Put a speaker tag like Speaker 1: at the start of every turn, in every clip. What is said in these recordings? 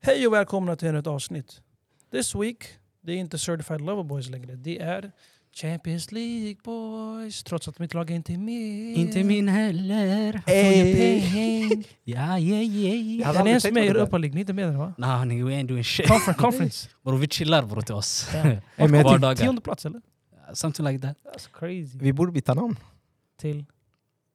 Speaker 1: Hej och välkomna till ännu ett avsnitt. This week, det är inte Certified Lover Boys längre. Det är Champions League Boys. Trots att mitt lag inte är med.
Speaker 2: Inte min heller.
Speaker 3: Ey.
Speaker 2: Peng. Ja, ja, ja,
Speaker 1: Den är
Speaker 2: ja.
Speaker 3: hade aldrig
Speaker 1: ens
Speaker 3: tänkt
Speaker 1: med i
Speaker 3: på det där.
Speaker 1: Europa League, ni är inte med där va?
Speaker 2: Nah, ni är ändå en shit.
Speaker 1: Conference. conference.
Speaker 2: Bror, vi chillar bror till oss.
Speaker 3: Ey, men jag
Speaker 2: Vardagar.
Speaker 3: tänkte-
Speaker 1: Tionde plats eller?
Speaker 2: Something like that.
Speaker 1: That's crazy.
Speaker 3: vi borde byta namn.
Speaker 1: Till...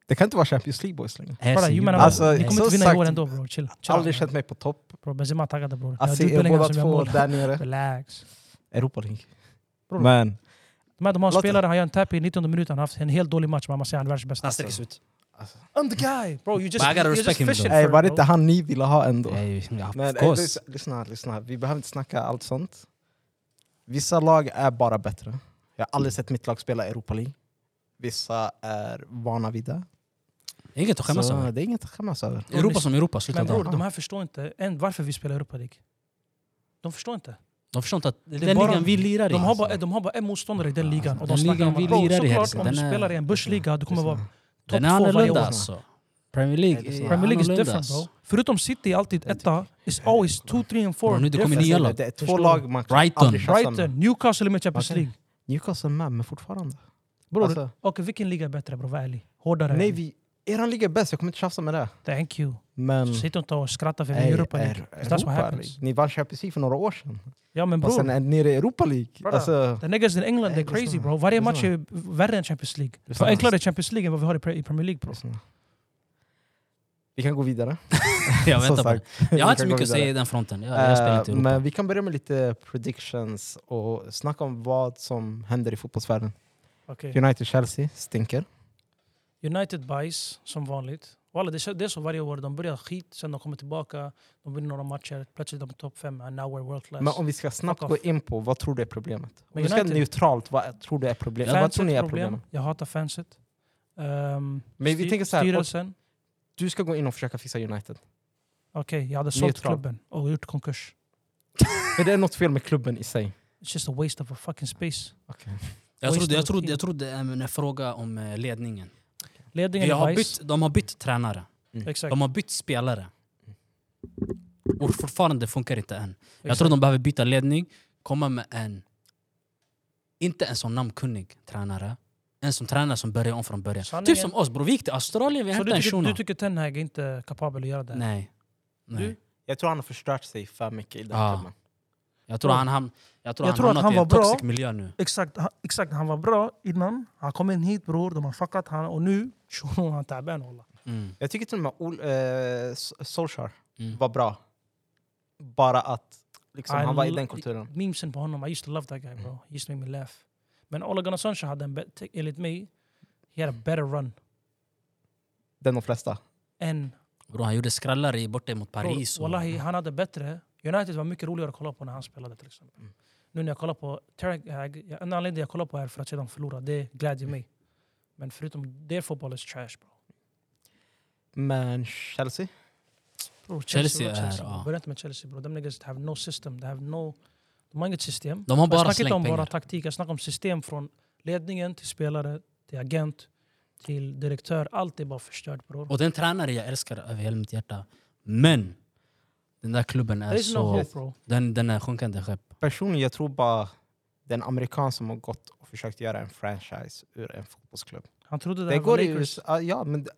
Speaker 3: Det kan inte vara Champions League boys längre.
Speaker 1: Bara,
Speaker 2: Alltså,
Speaker 1: you menar,
Speaker 3: Alltså,
Speaker 1: vi kommer
Speaker 3: så
Speaker 1: inte vinna i år
Speaker 3: sagt-
Speaker 1: ändå bror. Chill. Chill.
Speaker 3: Aldrig känt mig på topp.
Speaker 1: Bro, Benzema taggade bror.
Speaker 3: Att
Speaker 1: Jag
Speaker 3: se er
Speaker 1: dubbelhänger
Speaker 3: båda
Speaker 1: som jag
Speaker 3: två
Speaker 1: mål.
Speaker 3: där nere.
Speaker 1: Relax.
Speaker 3: Europa League.
Speaker 1: Bror.
Speaker 3: Men
Speaker 1: De här, de har en
Speaker 3: Låt-
Speaker 1: spelare, han gör en tap i 19 minuten, han har haft en helt dålig match, men man säger han är världens bästa.
Speaker 2: han sträcks ut.
Speaker 1: I'm the guy! Bro, you just,
Speaker 2: But I gotta
Speaker 1: you
Speaker 2: respect
Speaker 1: just
Speaker 2: him,
Speaker 1: fishing
Speaker 2: though.
Speaker 1: for
Speaker 3: ey,
Speaker 1: it,
Speaker 3: var det
Speaker 1: bro.
Speaker 3: inte han ni ville ha ändå?
Speaker 2: Ey, Ja, of
Speaker 3: Men ey,
Speaker 2: course.
Speaker 3: lyssna, lyssna, lyssna, vi behöver inte snacka allt sånt. Vissa lag är bara bättre. Jag har aldrig sett mitt lag spela Europa League. Vissa är vana vid det.
Speaker 2: Inget att skämmas
Speaker 3: Så
Speaker 2: över.
Speaker 3: Det är inget att skämmas över.
Speaker 2: Europa som Europa, sluta
Speaker 1: Men bror,
Speaker 2: där.
Speaker 1: de här förstår inte än varför vi spelar Europa League. De förstår inte.
Speaker 2: De förstår inte att det
Speaker 1: Det är
Speaker 2: är
Speaker 1: bara-
Speaker 2: ligan vi lirar i.
Speaker 1: De har bara,
Speaker 2: alltså.
Speaker 1: de har bara en motståndare i den
Speaker 2: Ja,
Speaker 1: ligan. Och de
Speaker 2: den
Speaker 1: snackar
Speaker 2: ligan
Speaker 1: om
Speaker 2: vi
Speaker 1: att bro,
Speaker 2: lirar i,
Speaker 1: såklart
Speaker 2: alltså,
Speaker 1: om du
Speaker 2: den är-
Speaker 1: spelar i en börsliga, du kommer vara topp två
Speaker 2: Den är
Speaker 1: varje
Speaker 2: annorlunda
Speaker 1: år.
Speaker 2: alltså. Premier League
Speaker 3: Nej, det är
Speaker 2: är
Speaker 3: så.
Speaker 1: Premier League is
Speaker 2: annorlunda,
Speaker 1: different
Speaker 2: alltså.
Speaker 1: bro. Förutom City är alltid etta, it's always 2, 3 and 4.
Speaker 2: Bro, nu det kommer
Speaker 3: Jag
Speaker 2: nya
Speaker 3: säger
Speaker 2: lag.
Speaker 3: Det är två
Speaker 1: Förstår
Speaker 3: lag man kan
Speaker 2: Brighton.
Speaker 3: aldrig tjafsa med.
Speaker 1: Brighton, Newcastle är med i Champions
Speaker 3: Okej.
Speaker 1: League.
Speaker 3: Newcastle med, men fortfarande.
Speaker 1: Bror,
Speaker 3: Alltså,
Speaker 1: Okej, vilken liga är bättre bror? Var ärlig. Hårdare.
Speaker 3: nej, vi, eran liga är bäst, jag kommer inte tjafsa med det.
Speaker 1: Thank you.
Speaker 3: Men...
Speaker 2: Mm.
Speaker 1: Så sitt inte och skratta för vi är i
Speaker 3: Ey,
Speaker 1: Europa
Speaker 3: är-
Speaker 1: League. That's what
Speaker 3: Europa
Speaker 1: happens.
Speaker 3: League. Ni vann Champions League för några år sedan.
Speaker 1: Ja men
Speaker 2: Alltså,
Speaker 3: Och sen
Speaker 1: bror,
Speaker 3: är ni nere i Europa League.
Speaker 1: Brother.
Speaker 3: Alltså,
Speaker 1: the niggas in England
Speaker 3: Nej,
Speaker 1: they're
Speaker 3: det är
Speaker 1: crazy
Speaker 3: så.
Speaker 1: bro. Varje
Speaker 3: Det är
Speaker 1: match
Speaker 3: så.
Speaker 1: är värre än Champions League.
Speaker 3: Det är
Speaker 1: För
Speaker 3: så.
Speaker 1: enklare är Champions League än vad vi har i Pre- i Premier League bror.
Speaker 3: lyssna. liksom. vi kan gå vidare.
Speaker 2: Jag
Speaker 3: som
Speaker 2: väntar på
Speaker 3: sagt.
Speaker 2: det. Jag har inte så
Speaker 3: Vi kan
Speaker 2: mycket att
Speaker 3: gå
Speaker 2: säga i
Speaker 3: vidare.
Speaker 2: den fronten. Jag, jag spelar inte i
Speaker 3: Eh,
Speaker 2: Europa.
Speaker 3: Men vi kan börja med lite predictions och snacka om vad som händer i fotbollsvärlden.
Speaker 1: Okej.
Speaker 3: United-Chelsea stinker.
Speaker 1: United bajs som vanligt. Walla, det, är så- det är så varje år. De börjar skit, sen de kommer tillbaka, de vinner några matcher, plötsligt är de topp fem, and now we're world class.
Speaker 3: Men om vi ska snabbt
Speaker 1: Fuck
Speaker 3: gå
Speaker 1: off.
Speaker 3: in på vad tror du är problemet? Om
Speaker 1: Men
Speaker 3: vi ska
Speaker 1: United-
Speaker 3: neutralt, vad tror du är problemet? Vad
Speaker 1: Fanset
Speaker 3: tror ni är
Speaker 1: problem.
Speaker 3: problemet?
Speaker 1: Jag hatar fanset. Um,
Speaker 3: vi tänker så här,
Speaker 1: Styrelsen.
Speaker 3: Du ska gå in och försöka fixa United.
Speaker 1: Okej, jag hade sålt
Speaker 3: Neutral.
Speaker 1: klubben och gjort konkurs.
Speaker 3: För det är något fel med klubben i sig.
Speaker 1: It's just a waste of a fucking space.
Speaker 2: Jag tror, jag, tror,
Speaker 1: Oyster.
Speaker 2: jag tror det är en fråga om eh, ledningen.
Speaker 1: Ledningen
Speaker 2: Vi
Speaker 1: är
Speaker 2: har
Speaker 1: bajs.
Speaker 2: bytt, de har bytt tränare,
Speaker 1: Exakt.
Speaker 2: de har bytt spelare. Och fortfarande funkar inte än. Jag
Speaker 1: exakt.
Speaker 2: tror de behöver byta ledning, komma med en... Inte en sån namnkunnig tränare. En som tränare som börjar om från början.
Speaker 1: Sanningen.
Speaker 2: Typ som oss bror, vi gick till Australien, vi
Speaker 1: Så
Speaker 2: hämtade
Speaker 1: du
Speaker 2: en
Speaker 1: tycker, du
Speaker 2: shuno.
Speaker 1: tycker Tenhag är inte kapabel att göra det?
Speaker 2: Nej.
Speaker 1: Du?
Speaker 2: Nej.
Speaker 3: Jag tror han har förstört sig för mycket i den
Speaker 2: Ja.
Speaker 3: klubben.
Speaker 2: Jag tror han, ham- jag tror
Speaker 1: Jag
Speaker 2: han
Speaker 1: tror att
Speaker 2: hamnat
Speaker 1: han
Speaker 2: i
Speaker 1: var
Speaker 2: en toxic
Speaker 1: bra.
Speaker 2: miljö nu.
Speaker 1: Exakt, han, exakt, han var bra innan. Han kom in hit bror, de har fuckat han och nu, shunon, han taben walla.
Speaker 2: Mm.
Speaker 3: Jag tycker till och med Ol- eh, S- Solskjaer
Speaker 2: Mm.
Speaker 3: var bra. Bara att liksom,
Speaker 1: I
Speaker 3: han var i
Speaker 1: l-
Speaker 3: den kulturen.
Speaker 1: memesen på honom. I used to love that guy
Speaker 2: Mm.
Speaker 1: bro. He used to make me laugh. Men Ola Gunnar Solskjaer hade en, bet- enligt mig, he had a better run
Speaker 3: Den de flesta.
Speaker 1: än...
Speaker 2: Bror, han gjorde skrallar i borta mot Paris.
Speaker 1: Och, wallahi, han hade bättre. United var mycket roligare att kolla på när han spelade till exempel.
Speaker 3: Mm.
Speaker 1: Nu när jag kollar på Terag, en anledning till att jag kollar på är för att se dem förlora. Det
Speaker 2: Mm.
Speaker 1: glädjer mig. Men förutom det, fotboll is trash bro.
Speaker 3: Men Chelsea?
Speaker 1: bro
Speaker 2: Chelsea är-
Speaker 1: bro.
Speaker 2: ja.
Speaker 1: Börja inte med Chelsea bro. De niggas have no system. They have no... De har inget system.
Speaker 2: De har bara
Speaker 1: jag snackar inte om
Speaker 2: slängt
Speaker 1: bara
Speaker 2: pengar.
Speaker 1: taktik, jag snackar om system från ledningen till spelare, till agent, till direktör. Allt är bara förstört bror.
Speaker 2: Och den tränare jag älskar över hela mitt hjärta. Men den där klubben är
Speaker 1: There is no
Speaker 2: så...
Speaker 1: hope bro.
Speaker 2: Den, den är sjunkande skepp.
Speaker 3: Personligen, jag tror bara det är en amerikan som har gått och försökt göra en franchise ur en fotbollsklubb.
Speaker 1: Han trodde det,
Speaker 3: Det
Speaker 1: här var
Speaker 3: går i
Speaker 1: Lakers.
Speaker 3: USA, ja men det-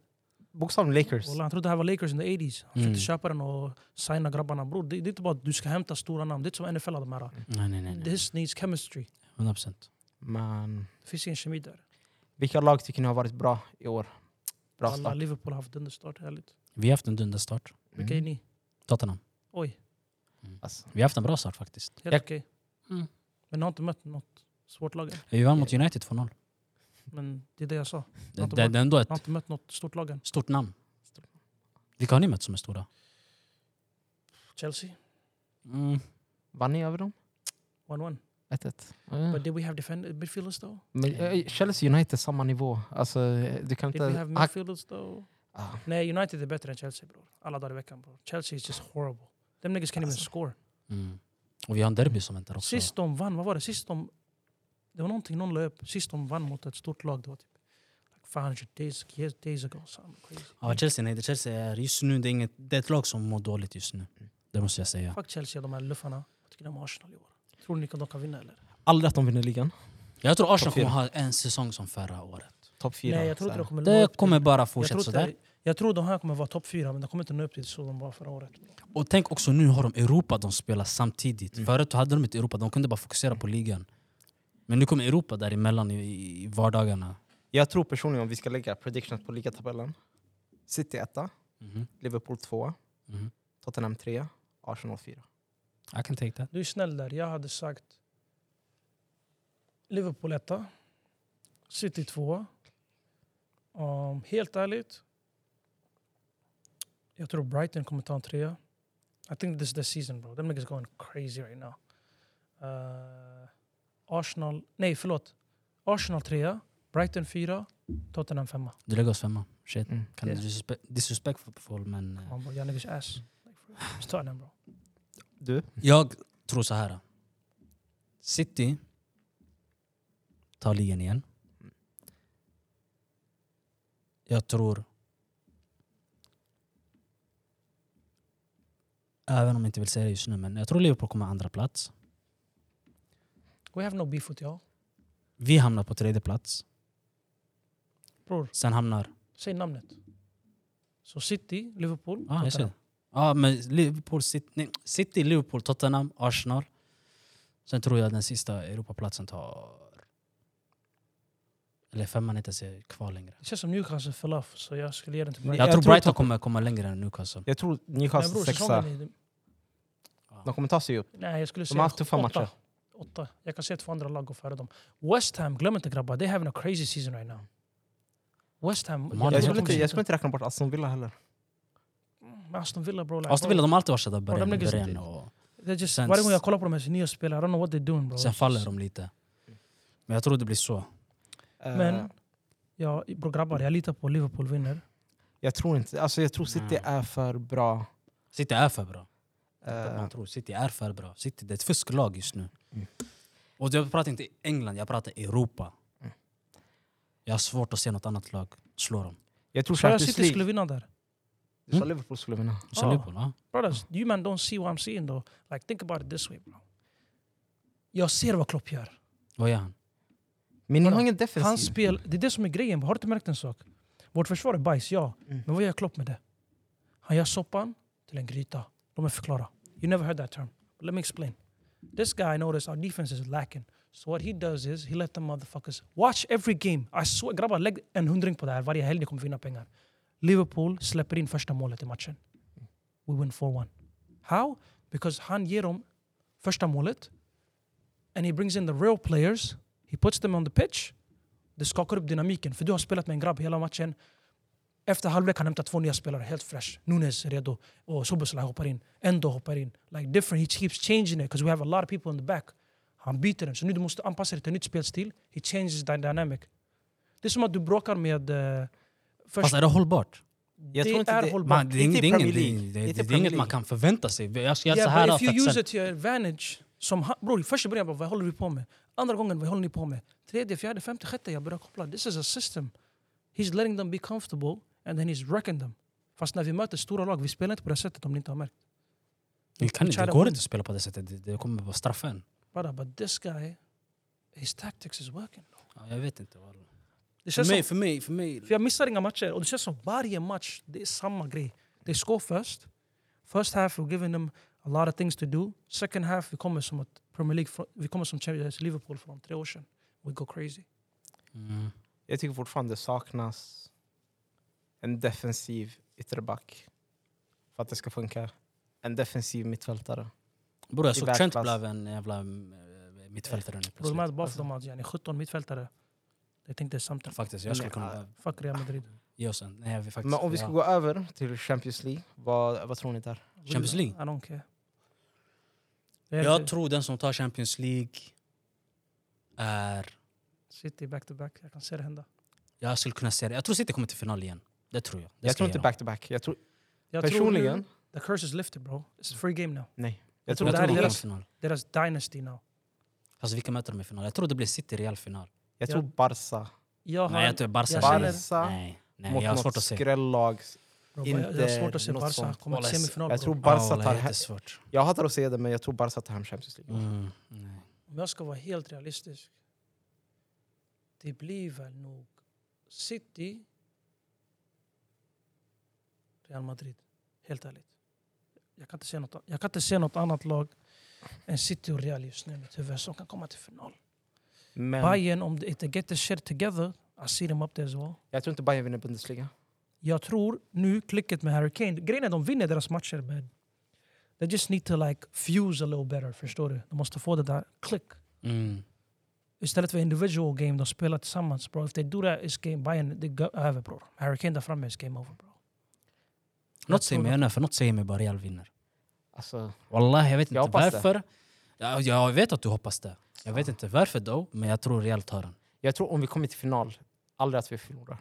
Speaker 3: bokstavligen Lakers.
Speaker 1: Wallah, han trodde det här var Lakers in the 80s. Han försökte
Speaker 2: Mm.
Speaker 1: köpa den och signa grabbarna. Bror, det, det är inte bara att du ska hämta stora namn. Det är inte som NFL. De här.
Speaker 2: Nej, nej, nej. nej.
Speaker 1: This needs chemistry.
Speaker 2: 100%.
Speaker 3: Men
Speaker 1: Det finns ingen kemi där.
Speaker 3: vilka lag tycker ni har varit bra i år? Bra
Speaker 1: Alla
Speaker 3: start.
Speaker 1: Liverpool har haft understart, ärligt.
Speaker 2: Vi har haft en dunderstart.
Speaker 1: Vilka är ni?
Speaker 2: Tottenham.
Speaker 1: Oj,
Speaker 3: Mm. Alltså,
Speaker 2: Vi har haft en bra start faktiskt.
Speaker 1: helt
Speaker 3: Jag-
Speaker 1: okej.
Speaker 2: Mm.
Speaker 1: Men jag har inte mött något svårt lag än.
Speaker 2: Vi vann mot United 2-0.
Speaker 1: Men det är det jag sa.
Speaker 2: Det, det, det är ändå ett
Speaker 1: Jag har inte mött något stort lag än.
Speaker 2: stort namn. Vilka har ni mött som är stora?
Speaker 1: Chelsea,
Speaker 2: Mm.
Speaker 3: vann ni över dem?
Speaker 1: 1-1.
Speaker 3: 1-1. Ja.
Speaker 1: But did we have defend midfielders though?
Speaker 3: Men, eh, Chelsea United samma nivå. Alltså, eh, du kan
Speaker 1: Did we
Speaker 3: inte...
Speaker 1: have midfielders though?
Speaker 3: Ah.
Speaker 1: Nej, United är bättre än Chelsea bror. Alla dagar i veckan bror. Chelsea is just horrible. Them niggas can't even
Speaker 3: Alltså.
Speaker 1: score.
Speaker 2: Mm. Och vi har en derby som väntar också.
Speaker 1: Sist de vann, vad var det? Sist de... Det var någonting någon la upp. Sist de vann mot ett stort lag, det var typ like 500 days, years, days ago. Something crazy.
Speaker 2: Ja, Chelsea, nej, det Chelsea är just nu, det är, inget, det är ett lag som mår dåligt just nu. Det måste jag säga.
Speaker 1: Fuck Chelsea, de här luffarna. Jag tycker de har Arsenal i år. Tror ni att de kan vinna eller?
Speaker 3: Aldrig att de vinner ligan.
Speaker 2: Jag tror Arsenal
Speaker 3: Topp fyra.
Speaker 2: kommer ha en säsong som förra året.
Speaker 3: Topp fyra.
Speaker 1: Nej, jag tror inte de kommer nå upp
Speaker 2: Det
Speaker 1: till-
Speaker 2: kommer bara
Speaker 1: jag
Speaker 2: fortsätta
Speaker 1: tror,
Speaker 2: sådär.
Speaker 1: inte, jag tror de här kommer vara topp fyra, men de kommer inte nå upp till så de var förra året.
Speaker 2: Och tänk också nu har de Europa de spelar samtidigt.
Speaker 3: Mm.
Speaker 2: Förut hade de inte Europa, de kunde bara fokusera på ligan. Men nu kommer Europa däremellan i, i vardagarna.
Speaker 3: jag tror personligen om vi ska lägga predictions på ligatabellen. City etta,
Speaker 2: Mhm,
Speaker 3: Liverpool tvåa,
Speaker 2: mhm.
Speaker 3: Tottenham trea, Arsenal fyra.
Speaker 2: I can take that.
Speaker 1: Du är snäll där. Jag hade sagt Liverpool etta, City tvåa. Um, helt ärligt, jag tror Brighton kommer ta en trea. I think this is the season bro. Them niggas going crazy right now. Uh, Arsenal, nej förlåt. Arsenal trea, Brighton fyra, Tottenham femma.
Speaker 2: Du lägger oss femma. Shit.
Speaker 3: Mm.
Speaker 2: Kan
Speaker 1: Yes.
Speaker 2: disrespe- disrespectful men... eh,
Speaker 1: Man bara, jag niggas ass. Like, for real. It's Tottenham bro.
Speaker 3: Du?
Speaker 2: Jag tror så här. City tar ligan igen. Jag tror... Även om jag inte vill säga det just nu, men jag tror Liverpool kommer andra plats.
Speaker 1: We have no beef with y'all.
Speaker 2: Vi hamnar på tredje plats.
Speaker 1: Bror,
Speaker 2: Sen hamnar...
Speaker 1: säg namnet. Så City, Liverpool,
Speaker 2: Ah, jag ser.
Speaker 1: Tottenham.
Speaker 2: Ja, ah, men Liverpool, City, nej, City, Liverpool, Tottenham, Arsenal. Sen tror jag den sista Europaplatsen tar... Eller femman inte ens är kvar längre.
Speaker 1: Det känns som Newcastle föll off, så jag skulle ge den till
Speaker 3: Nej,
Speaker 1: Brighton.
Speaker 2: Jag,
Speaker 3: Jag
Speaker 2: tror
Speaker 3: tror
Speaker 2: Brighton
Speaker 3: toppen-
Speaker 2: kommer komma längre än Newcastle.
Speaker 3: Jag tror
Speaker 1: Men
Speaker 3: Newcastle
Speaker 1: bror,
Speaker 3: sexa.
Speaker 1: säsongen är...
Speaker 3: De kommer ta sig upp.
Speaker 1: Nej, jag skulle
Speaker 3: De har
Speaker 1: säga
Speaker 3: haft tuffa matcher.
Speaker 1: åtta. åtta. Jag kan se två andra lag gå före dem. West Ham, glöm inte grabbar, they having a crazy season right now. West Ham...
Speaker 2: De har det.
Speaker 3: Jag skulle
Speaker 2: kommer
Speaker 3: inte, jag skulle inte räkna bort Aston Villa heller.
Speaker 1: Mm, Men Aston Villa bror... like,
Speaker 2: Aston Villa, de har alltid varit sådär i
Speaker 1: Ja,
Speaker 2: början.
Speaker 1: de
Speaker 2: i
Speaker 1: ligger så
Speaker 2: början
Speaker 1: till.
Speaker 2: och
Speaker 1: they're just,
Speaker 2: sen-
Speaker 1: varje gång jag kollar på de här nya spelarna, I don't know what they're doing bro.
Speaker 2: sen faller de lite. Men jag tror det blir så.
Speaker 3: Eh,
Speaker 1: Men- Ja, bror grabbar, jag litar på Liverpool vinner.
Speaker 3: jag tror inte, alltså jag tror City
Speaker 2: Nej.
Speaker 3: är för bra.
Speaker 2: City är för bra.
Speaker 3: Eh,
Speaker 2: Man tror City är för bra. City det är ett fusklag just nu.
Speaker 3: Mm.
Speaker 2: Och jag pratar inte England, jag pratar Europa.
Speaker 3: Mm.
Speaker 2: Jag har svårt att se något annat lag slå dem.
Speaker 3: jag tror
Speaker 1: Så jag
Speaker 3: Champions
Speaker 1: City skulle
Speaker 3: League...
Speaker 1: vinna där.
Speaker 3: Du sa
Speaker 2: Mm.
Speaker 3: Liverpool skulle vinna.
Speaker 2: Du sa
Speaker 1: Ja.
Speaker 2: Liverpool, ja.
Speaker 1: Brothers, you man don't see what I'm seeing though. Like, think about it this way bro. Jag ser vad Klopp gör.
Speaker 2: Vad gör han?
Speaker 3: Men ni
Speaker 1: Vadå?
Speaker 3: har ingen
Speaker 1: Hans
Speaker 3: defensiv.
Speaker 1: spel, det är det som är grejen. Har du inte märkt en sak? Vårt försvar är bajs, ja.
Speaker 3: Mm.
Speaker 1: Men vad gör Klopp med det? Han gör soppan till en gryta. Låt mig förklara. You never heard that term. But let me explain. This guy noticed our defense is lacking. So what he does is, he let the motherfuckers watch every game. I swear, grabbar, lägg en hundring på det här varje helg. Ni kommer vinna pengar. Liverpool släpper in första målet i matchen. We win 4-1. How? Because han ger dem första målet. And he brings in the real players. He puts them on the pitch. Det skakar upp dynamiken. För du har spelat med en grabb hela matchen. Efter halvlek han hämtar två nya spelare, helt fresh. Nunes är redo. oh, Och Soboslaj hoppar in. Endo hoppar in. Like different, he keeps changing it. Because we have a lot of people in the back. Han byter den. Så nu du måste anpassa dig till en nytt spelstil. He changes the dynamic. Det är som att du bråkar med... eh,
Speaker 2: Fast
Speaker 1: först,
Speaker 2: är det hållbart?
Speaker 3: Jag tror
Speaker 1: det
Speaker 3: inte
Speaker 1: är
Speaker 3: det-
Speaker 1: hållbart.
Speaker 2: Man, det, är
Speaker 3: Inte i
Speaker 2: ingen- det, är ingen-
Speaker 3: Premier
Speaker 2: det,
Speaker 3: League.
Speaker 2: det,
Speaker 3: Inte i
Speaker 2: det, det är
Speaker 3: Premier
Speaker 2: inget man
Speaker 3: League.
Speaker 2: kan förvänta sig. Jag ska göra så
Speaker 1: Yeah,
Speaker 2: här
Speaker 1: but if
Speaker 2: för att
Speaker 1: you use
Speaker 2: sen-
Speaker 1: it to your advantage. Som han, bror, första början, jag bara, vad håller vi på med? Andra gången, vad håller ni på med? Tredje, fjärde, femte, sjätte, jag börjar koppla. This is a system. He's letting them be comfortable and then he's wrecking them. Fast när vi möter stora lag, vi spelar inte på det sättet om ni inte har märkt.
Speaker 2: Det, kan, inte-
Speaker 1: Try
Speaker 2: det
Speaker 1: to
Speaker 2: går
Speaker 1: win.
Speaker 2: inte att spela på det sättet. Det, det kommer bara straffa en.
Speaker 1: Bara, but this guy, his tactics is working.
Speaker 2: Ja, jag vet inte. wallah.
Speaker 1: Det
Speaker 2: För
Speaker 1: känns
Speaker 2: mig,
Speaker 1: som,
Speaker 2: för mig, för mig.
Speaker 1: för jag missar inga matcher och det känns som varje match, det är samma grej. They score first. First half, we're giving them a lot of things to do. Second half, vi kommer som ett uh, Premier League, från- vi kommer som Champions uh, Liverpool från tre år sedan. We go crazy.
Speaker 2: Mm.
Speaker 3: Jag tycker fortfarande det saknas en defensiv ytterback för att det ska funka. En defensiv mittfältare.
Speaker 2: Bror, jag
Speaker 3: I
Speaker 2: såg Trent
Speaker 3: världsklass.
Speaker 2: blev en jävla eh, mittfältare nu
Speaker 1: Bror, de
Speaker 2: plötsligt.
Speaker 1: hade bara för de hade yani uh, 17 mittfältare. Jag tänkte something.
Speaker 2: Faktiskt, jag skulle
Speaker 3: Nej,
Speaker 2: kunna
Speaker 1: Fuck Real Madrid.
Speaker 2: ge oss en. Nej, jag vill faktiskt,
Speaker 3: Mm, Men om vi ska
Speaker 2: ja.
Speaker 3: gå över till Champions League, vad, vad tror ni där?
Speaker 2: Champions League?
Speaker 1: I don't care. Det är
Speaker 2: Jag
Speaker 1: inte-
Speaker 2: tror den som tar Champions League är...
Speaker 1: City back to back, jag kan se det hända.
Speaker 2: Jag skulle kunna säga det. Jag tror City kommer till final igen. Det tror jag. Det
Speaker 3: Jag
Speaker 2: ska
Speaker 3: tror inte
Speaker 2: ge dem.
Speaker 3: back-to-back. Jag tror,
Speaker 1: Jag tror
Speaker 3: personligen,
Speaker 1: nu- the curse is lifted bro. It's a free game now.
Speaker 3: nej.
Speaker 1: Jag
Speaker 3: Jag
Speaker 1: tror
Speaker 3: tror,
Speaker 2: jag
Speaker 1: det
Speaker 2: tror
Speaker 1: här
Speaker 2: de
Speaker 1: är
Speaker 2: kommer
Speaker 1: deras-
Speaker 2: till final.
Speaker 1: Deras dynasty now.
Speaker 2: Alltså vilka möter de i final? Jag tror det blir City Real final.
Speaker 3: jag tror Barca
Speaker 1: Jag har,
Speaker 2: Nej, jag tror Barca.
Speaker 1: jag
Speaker 2: blir-
Speaker 1: känner-
Speaker 3: Barca
Speaker 2: Nej, nej,
Speaker 3: mot
Speaker 2: jag har svårt
Speaker 3: något
Speaker 2: att se.
Speaker 3: skrällag
Speaker 1: Bro, jag, jag har
Speaker 3: Inte
Speaker 1: svårt att se
Speaker 3: något
Speaker 1: Barca
Speaker 3: sånt.
Speaker 1: komma till
Speaker 2: Wallace,
Speaker 1: semifinal.
Speaker 3: jag
Speaker 1: bro.
Speaker 3: tror Barca
Speaker 2: Paola,
Speaker 3: tar he-
Speaker 2: jättesvårt.
Speaker 3: Jag hatar att säga det, men jag tror Barca tar hem Champions League.
Speaker 2: Mm. nej.
Speaker 1: Om jag ska vara helt realistisk. Det blir väl nog City, Real Madrid. Helt ärligt. Jag kan inte se något, jag kan inte se något annat lag än City och Real just nu i mitt huvud som kan komma till final.
Speaker 3: Men
Speaker 1: Bayern, om they they get the shit together, I see them up there as well.
Speaker 3: jag tror inte Bayern vinner Bundesliga.
Speaker 1: Jag tror nu klicket med Harry Kane, grejen är att de vinner deras matcher men they just need to like fuse a little better, förstår du? De måste få det där klick.
Speaker 2: Mm.
Speaker 1: Istället för individual game, de spelar tillsammans bro. If they do that is game, Bayern, they go ah, över bro. Harry Kane där framme is game over bro.
Speaker 2: Något säger mig, jag undrar, för något säger mig bara Real vinner.
Speaker 3: Alltså,
Speaker 2: Wallah, jag vet inte
Speaker 3: Jag hoppas det.
Speaker 2: varför. Ja, jag vet att du hoppas det. Jag vet inte varför då, men jag tror Real tar den.
Speaker 3: jag tror om vi kommer till final, aldrig att vi förlorar.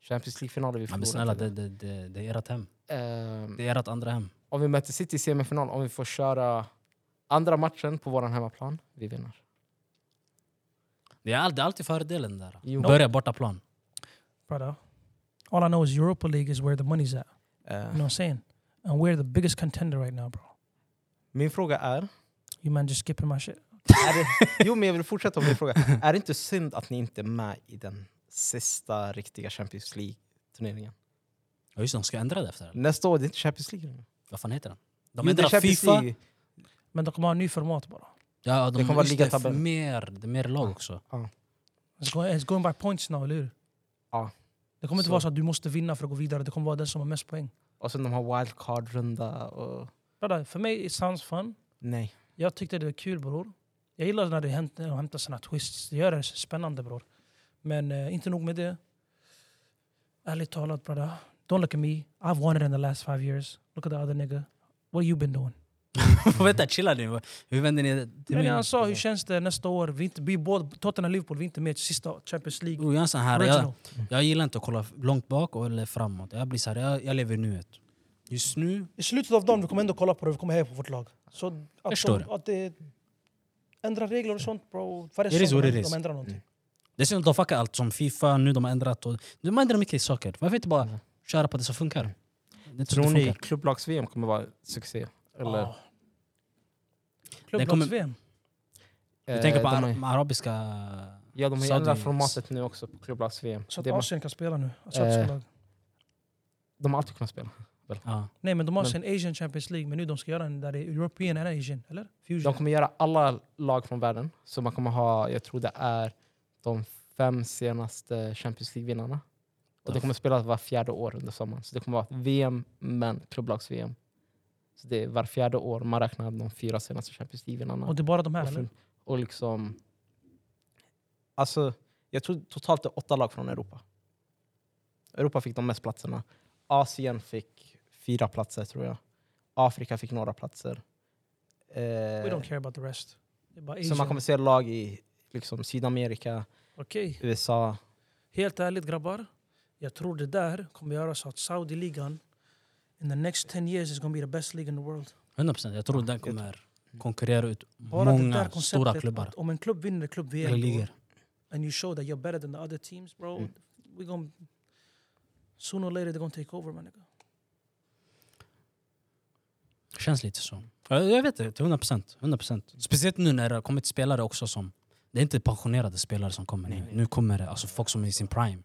Speaker 3: Champions League-finaler vi
Speaker 2: Ja,
Speaker 3: förlorar.
Speaker 2: men snälla,
Speaker 3: till.
Speaker 2: det, det, det, det är ert hem.
Speaker 3: Ehm,
Speaker 2: Det är ert andra hem.
Speaker 3: om vi möter City i semifinal, om vi får köra andra matchen på vår hemmaplan, vi vinner.
Speaker 2: Det är, all, det är alltid fördelen där.
Speaker 3: Jo.
Speaker 2: Börja bortaplan.
Speaker 1: Brother, all I know is Europa League is where the money's at.
Speaker 2: Eh.
Speaker 1: You
Speaker 3: Eh.
Speaker 1: know what I'm saying? And we're the biggest contender right now bro.
Speaker 3: Min fråga är...
Speaker 1: You man just skipping my shit.
Speaker 3: är det, jo, men jag vill fortsätta med min fråga. Är det inte synd att ni inte är med i den sista riktiga Champions League-turneringen?
Speaker 2: Ja, just det, de ska ändra det efter det.
Speaker 3: Nästa år, det är inte Champions League. längre.
Speaker 2: Vad fan heter den?
Speaker 3: Jo,
Speaker 2: De
Speaker 3: det är
Speaker 2: ändrar
Speaker 3: Champions
Speaker 2: Fifa.
Speaker 3: League.
Speaker 1: Men de kommer ha en ny format bara.
Speaker 2: Ja, de,
Speaker 3: Det kommer vara
Speaker 2: just det, för
Speaker 3: ligatabell.
Speaker 2: mer, det är mer lag också.
Speaker 1: It's going, it's going by points now, eller hur?
Speaker 3: Ja.
Speaker 1: Det kommer inte
Speaker 3: Så.
Speaker 1: vara så att du måste vinna för att gå vidare. Det kommer vara den som har mest poäng.
Speaker 3: Och sen de har wildcard-runda och...
Speaker 1: Brother, för mig, it sounds fun.
Speaker 3: Nej.
Speaker 1: Jag tyckte det var kul, bror. Jag gillar när det hänt- när de hämtar såna twists. Det gör det spännande, bror. Men eh, inte nog med det. Ärligt talat, brother. Don't look at me. I've won it in the last five years. Look at the other nigga. What have you been doing?
Speaker 2: Vänta, chilla nu. Hur vänder ni det till
Speaker 1: Men
Speaker 2: mig?
Speaker 1: han sa, hur känns det nästa år? Vi, är inte, vi är båda, Tottenham och Liverpool, vi är inte med i sista Champions League.
Speaker 2: Oh, jag, är en sån här,
Speaker 1: Original.
Speaker 2: jag, jag gillar inte att kolla långt bak och- eller framåt. Jag blir så här, jag, jag lever i nuet. Just nu,
Speaker 1: I slutet av dagen vi kommer ändå kolla på det, vi kommer heja på vårt lag. Så att, de-
Speaker 2: förstår det.
Speaker 1: att det ändra regler och sånt bro. Varje
Speaker 2: It is
Speaker 1: säsong
Speaker 2: what it
Speaker 1: de-
Speaker 2: is.
Speaker 1: de ändrar någonting.
Speaker 2: dessutom de fuckar allt som Fifa, nu de har ändrat. Och, de ändrar mycket saker. Varför inte bara
Speaker 1: Mm.
Speaker 2: köra på det som funkar? Det är inte så
Speaker 3: Tror
Speaker 2: det
Speaker 3: ni
Speaker 2: funkar.
Speaker 3: klubblags-VM kommer vara succé? Eller,
Speaker 1: Ja.
Speaker 2: Den kommer-
Speaker 1: Klubblags-VM.
Speaker 2: Du
Speaker 3: eh,
Speaker 2: tänker på
Speaker 3: de har-
Speaker 2: ar- arabiska...
Speaker 3: Ja, de har ju
Speaker 2: Saudi-
Speaker 3: ändrat formatet nu också på klubblags-VM.
Speaker 1: så att
Speaker 3: Det är bara-
Speaker 1: Asien kan spela nu.
Speaker 3: Eh.
Speaker 1: Asiatiska lag.
Speaker 3: De har alltid kunnat spela.
Speaker 2: Ja.
Speaker 1: Nej men de har sin Asian Champions League, men nu de ska göra en där det är European and Asian, eller? Fusion.
Speaker 3: De kommer göra alla lag från världen. Så man kommer ha, jag tror det är de fem senaste Champions League-vinnarna. Och det kommer spelas var fjärde år under sommaren. Så det kommer vara ett VM, men klubblags-VM. Så det är var fjärde år man räknar de fyra senaste Champions
Speaker 1: Och
Speaker 3: League-vinnarna.
Speaker 1: det är bara de här
Speaker 3: Och,
Speaker 1: eller?
Speaker 3: fin- och liksom... Alltså, jag tror totalt det är åtta lag från Europa. Europa fick de mest platserna. Asien fick fyra platser tror jag. Afrika fick några platser. Eh,
Speaker 1: We don't care about the rest. Det är bara
Speaker 3: så man
Speaker 1: Asian.
Speaker 3: kommer se lag i liksom, Sydamerika,
Speaker 1: Okej.
Speaker 3: USA.
Speaker 1: Helt ärligt grabbar, jag tror det där kommer göra så att Saudi-ligan in the next 10 years is gonna be the best league in the world.
Speaker 2: 100%. Jag tror den
Speaker 3: jag tror-
Speaker 2: kommer konkurrera ut
Speaker 1: Bara det där
Speaker 2: många
Speaker 1: konceptet
Speaker 2: stora klubbar.
Speaker 1: att Om en klubb vinner
Speaker 2: Eller
Speaker 1: klubb-VM
Speaker 2: ligor.
Speaker 1: and you show that you're better than the other teams, bro,
Speaker 3: Mm.
Speaker 1: we're gonna sooner or later they're gonna take over, my nigga.
Speaker 2: Känns lite så. Ja, Jag vet det, till 100%. 100%. Speciellt nu när det har kommit spelare också som... Det är inte pensionerade spelare som kommer
Speaker 3: Nej,
Speaker 2: nu.
Speaker 3: nej.
Speaker 2: Nu kommer det alltså folk som är i sin prime.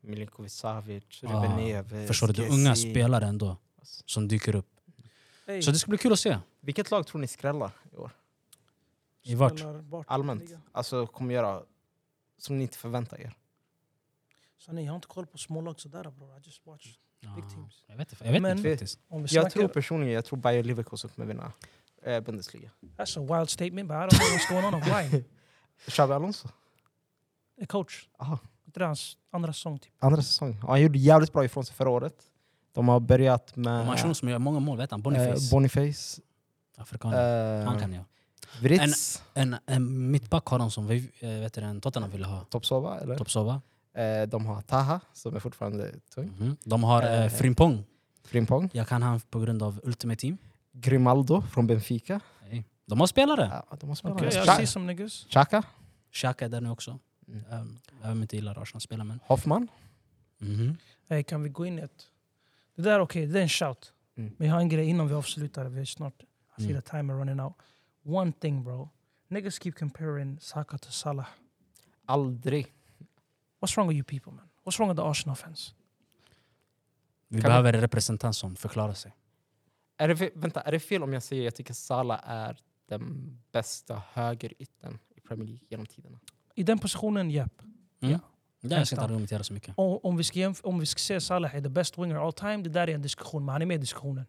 Speaker 3: Milinkovic Savic,
Speaker 2: Ah,
Speaker 3: Ruben
Speaker 1: Eh,
Speaker 3: Neves,
Speaker 2: Förstår du? Det är unga spelare ändå som dyker upp.
Speaker 1: Alltså. Hey,
Speaker 2: Så det ska bli kul att se.
Speaker 3: Vilket lag tror ni skrällar i år?
Speaker 2: I vart?
Speaker 1: spelar vart?
Speaker 3: Allmänt.
Speaker 1: Liga.
Speaker 3: Alltså kommer göra som ni inte förväntar er.
Speaker 1: Sanne, jag har inte koll på smålag sådär bror. I just watch
Speaker 3: Ah.
Speaker 1: big teams.
Speaker 2: Jag vet, inte- jag vet
Speaker 1: Men-
Speaker 2: inte faktiskt.
Speaker 1: Om vi
Speaker 3: Jag tror
Speaker 1: snackar-
Speaker 3: personligen jag tror Bayer Leverkusen kommer vinna eh, Bundesliga.
Speaker 1: That's a wild statement but I don't know what's going on. Why?
Speaker 3: Xabi Alonso,
Speaker 1: A coach.
Speaker 3: Aha.
Speaker 1: Det är hans andra säsong typ.
Speaker 3: andra säsong. Ja, han gjorde jävligt bra ifrån sig förra året. De har börjat med
Speaker 2: Manchon som gör många mål, vet han?
Speaker 3: eh,
Speaker 2: Boniface.
Speaker 3: Boniface.
Speaker 2: Afrikan.
Speaker 3: eh,
Speaker 2: Han kan jag.
Speaker 3: Vrits.
Speaker 2: En, en mittback har de som vi, eh, vet du, den Tottenham ville ha.
Speaker 3: Topsova, eller?
Speaker 2: Topsova.
Speaker 3: Eh, de har Taha, som är fortfarande tung.
Speaker 2: Mhm. De har
Speaker 3: Eh,
Speaker 2: eh, Frimpong.
Speaker 3: Frimpong.
Speaker 2: Jag kan han på grund av Ultimate Team.
Speaker 3: Grimaldo från Benfica.
Speaker 2: Nej. De har spelare.
Speaker 3: Ja, de har spelat.
Speaker 1: Okay, I
Speaker 3: Cha-
Speaker 1: see some niggas.
Speaker 3: Xhaka,
Speaker 2: Xhaka är där nu också.
Speaker 3: Mm.
Speaker 2: Um, jag vet inte gillar Arsenal-spelare men...
Speaker 3: Hoffman.
Speaker 2: Mhm.
Speaker 1: Hey, kan vi gå in i ett Det där är okej, det är en shout.
Speaker 3: Mm.
Speaker 1: Men jag har en grej innan vi avslutar. Vi är snart, I see
Speaker 2: Mm.
Speaker 1: the timer running out. One thing bro. Niggas keep comparing Saka to Salah.
Speaker 3: Aldrig.
Speaker 1: What's wrong with you people man? What's wrong with the Arsenal fans?
Speaker 2: Vi
Speaker 3: Kan
Speaker 2: behöver en representant som förklarar sig.
Speaker 3: Är det, fe- vänta, är det fel om jag säger att jag tycker Salah är den bästa högerytten i Premier League genom tiderna?
Speaker 1: I den positionen, japp.
Speaker 2: Mm.
Speaker 1: Ja.
Speaker 2: Där jag ska inte argumentera så mycket.
Speaker 1: Och om vi ska, jämf- om vi ska se Salah är the best winger all time, det där är en diskussion. Men han är med i diskussionen.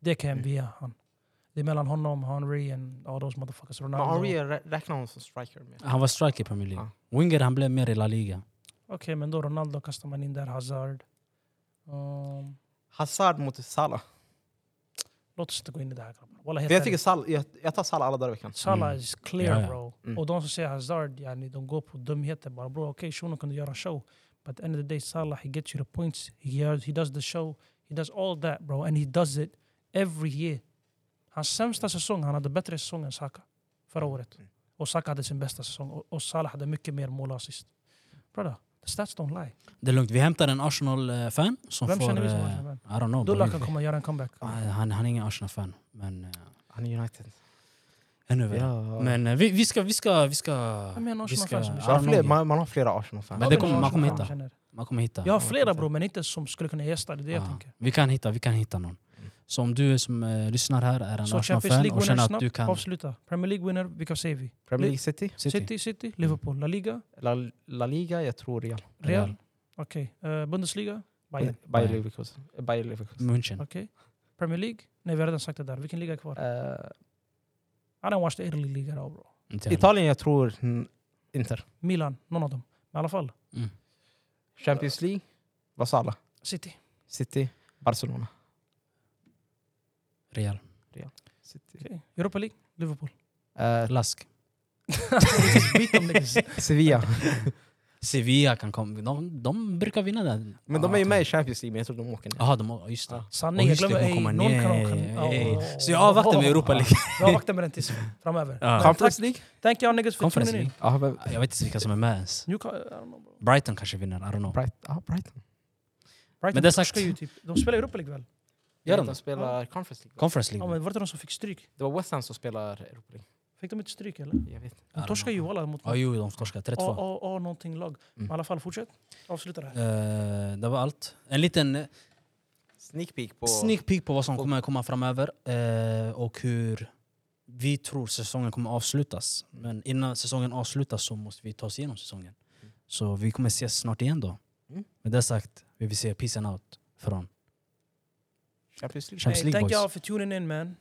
Speaker 1: Det kan jag
Speaker 3: Mm.
Speaker 1: via han. Det är mellan honom, Henry and all those motherfuckers.
Speaker 3: Men
Speaker 1: Ronaldo.
Speaker 3: Henry
Speaker 1: Okej,
Speaker 3: rä- räknar hon som striker med.
Speaker 2: Han var striker i Premier League. Winger han blev mer i La Liga.
Speaker 1: men då Ronaldo kastar man in där, Hazard. Um,
Speaker 3: Hazard mot Salah.
Speaker 1: låt oss inte gå in i det här grabbar. Walla,
Speaker 3: För
Speaker 1: helt
Speaker 3: jag,
Speaker 1: ärligt.
Speaker 3: tycker Salah jag, jag tar Salah alla dagar i veckan.
Speaker 1: Salah
Speaker 2: Mm.
Speaker 1: is clear
Speaker 2: Ja, ja.
Speaker 1: bro.
Speaker 3: Mm.
Speaker 1: Och de som säger Hazard, yani, de går på dumheter bara. Bro, okej, shunon kunde göra show. But at the end of the day, Salah, he gets you the points. He, gör- he does the show. He does all that bro. And he does it every year. Hans sämsta säsong, han hade bättre säsong än Saka förra året.
Speaker 3: Mm.
Speaker 1: Och Saka hade sin bästa säsong. Och, och Salah hade mycket mer mål och assist. Brother, the stats don't lie.
Speaker 2: Det är lugnt. Vi hämtar en Arsenal-fan som
Speaker 1: Vem
Speaker 2: får...
Speaker 1: känner vi som
Speaker 2: eh,
Speaker 1: Arsenal-fan?
Speaker 2: I don't know.
Speaker 1: Dulla
Speaker 2: bro.
Speaker 1: kan komma och göra en comeback.
Speaker 2: Ah, Han, han är ingen Arsenal-fan. Men, eh,
Speaker 3: Han är United.
Speaker 2: ännu värre. Men eh, vi, vi ska... Vi ska, vi ska
Speaker 1: Jag menar
Speaker 2: vi ska,
Speaker 1: Arsenal-fans som
Speaker 2: I
Speaker 1: är
Speaker 2: don't know
Speaker 3: Man har fler,
Speaker 2: you.
Speaker 3: man, man har flera
Speaker 2: Men
Speaker 3: Arsenal-fans.
Speaker 1: Jag
Speaker 2: det
Speaker 1: vet
Speaker 2: kommer-
Speaker 1: inte
Speaker 2: man
Speaker 1: vad
Speaker 2: kommer
Speaker 1: Arsenal-fan känner.
Speaker 2: Man kommer hitta. Ah.
Speaker 1: Jag har flera bro, men inte som skulle kunna gästa. Det är det jag
Speaker 2: Ja.
Speaker 1: tänker.
Speaker 2: Vi kan hitta, vi kan hitta någon. Så om du som eh, lyssnar här är en
Speaker 1: Så Champions
Speaker 2: Arsenal-fan
Speaker 1: League
Speaker 2: och
Speaker 1: winner
Speaker 2: känner att du
Speaker 1: snabbt,
Speaker 2: kan...
Speaker 1: avsluta. Premier League winner, vilka säger vi?
Speaker 3: Premier League City,
Speaker 1: City,
Speaker 2: City.
Speaker 1: City, Liverpool, La Liga,
Speaker 3: La, La Liga, jag tror Real.
Speaker 1: Real.
Speaker 2: Real.
Speaker 1: Okej. Eh, Bundesliga, Bayern.
Speaker 3: Bayer
Speaker 2: Nej.
Speaker 3: Leverkusen. Eh, Bayer Leverkusen.
Speaker 2: München.
Speaker 1: Okej. Premier League? Nej, vi har redan sagt det där. Vilken liga är kvar?
Speaker 3: Eh,
Speaker 1: I don't watch the Italy League at all, bro.
Speaker 2: Inte heller.
Speaker 3: Italien, jag tror mm, Inter.
Speaker 1: Milan, någon av dem. Men i alla fall,
Speaker 2: Mm.
Speaker 3: Champions League, vad sa alla?
Speaker 1: City.
Speaker 3: City, Barcelona.
Speaker 2: Real.
Speaker 3: City.
Speaker 1: Okej. Europa League, Liverpool.
Speaker 3: Eh,
Speaker 2: Lask.
Speaker 1: Beat them niggas.
Speaker 3: Sevilla.
Speaker 2: Sevilla kan komma. De, de brukar vinna den.
Speaker 3: Men de är ju med i Champions League, men jag tror de åker ner.
Speaker 2: Jaha, de, just det.
Speaker 1: Sanning,
Speaker 2: Och
Speaker 1: jag
Speaker 2: just det,
Speaker 1: glömmer.
Speaker 2: de
Speaker 1: ey,
Speaker 2: kommer
Speaker 1: Någon kan
Speaker 2: ner,
Speaker 1: åka
Speaker 2: ey.
Speaker 1: Oh.
Speaker 2: Så jag avvaktar med Europa League.
Speaker 1: Jag avvaktar med den tills framöver.
Speaker 2: Ja.
Speaker 1: Men
Speaker 3: Conference
Speaker 1: tack-
Speaker 3: League?
Speaker 1: Nou, Thank you niggas för
Speaker 2: Conference
Speaker 1: tuning in.
Speaker 2: League.
Speaker 3: Ja, men,
Speaker 2: Jag vet inte vilka som är med ens.
Speaker 1: Newcastle, I don't know, bro.
Speaker 2: Brighton kanske vinner, I don't know.
Speaker 3: Bright, ja, Brighton.
Speaker 1: Brighton
Speaker 2: Men det är sagt-
Speaker 1: torskar ju typ. De spelar Europa League Oh, väl?
Speaker 2: Gör de
Speaker 3: de
Speaker 2: det?
Speaker 3: spelar Conference League.
Speaker 2: Conference
Speaker 1: Ja,
Speaker 2: League.
Speaker 1: men var det de som fick stryk?
Speaker 3: Det var West Ham som spelar Europa League.
Speaker 1: Fick de inte stryk eller?
Speaker 3: Jag vet inte.
Speaker 1: De torskar ju walla mot...
Speaker 2: Ja, jo, de torskar. 3-2.
Speaker 1: Ja, ja, någonting
Speaker 2: Mm.
Speaker 1: lag. Men i alla fall, fortsätt. Avsluta det här.
Speaker 2: Eh, det var allt. En liten eh,
Speaker 3: Sneak peek på...
Speaker 2: sneak peek på vad som
Speaker 3: på-
Speaker 2: kommer komma framöver eh, och hur vi tror säsongen kommer avslutas. Men innan säsongen avslutas så måste vi ta oss igenom säsongen. Så vi kommer ses snart igen då.
Speaker 3: Mm.
Speaker 2: Med det sagt vill vi se peace and out från
Speaker 3: Champions League.
Speaker 2: Champions
Speaker 1: Hey,
Speaker 2: League
Speaker 1: thank
Speaker 2: boys.
Speaker 1: y'all for tuning in man.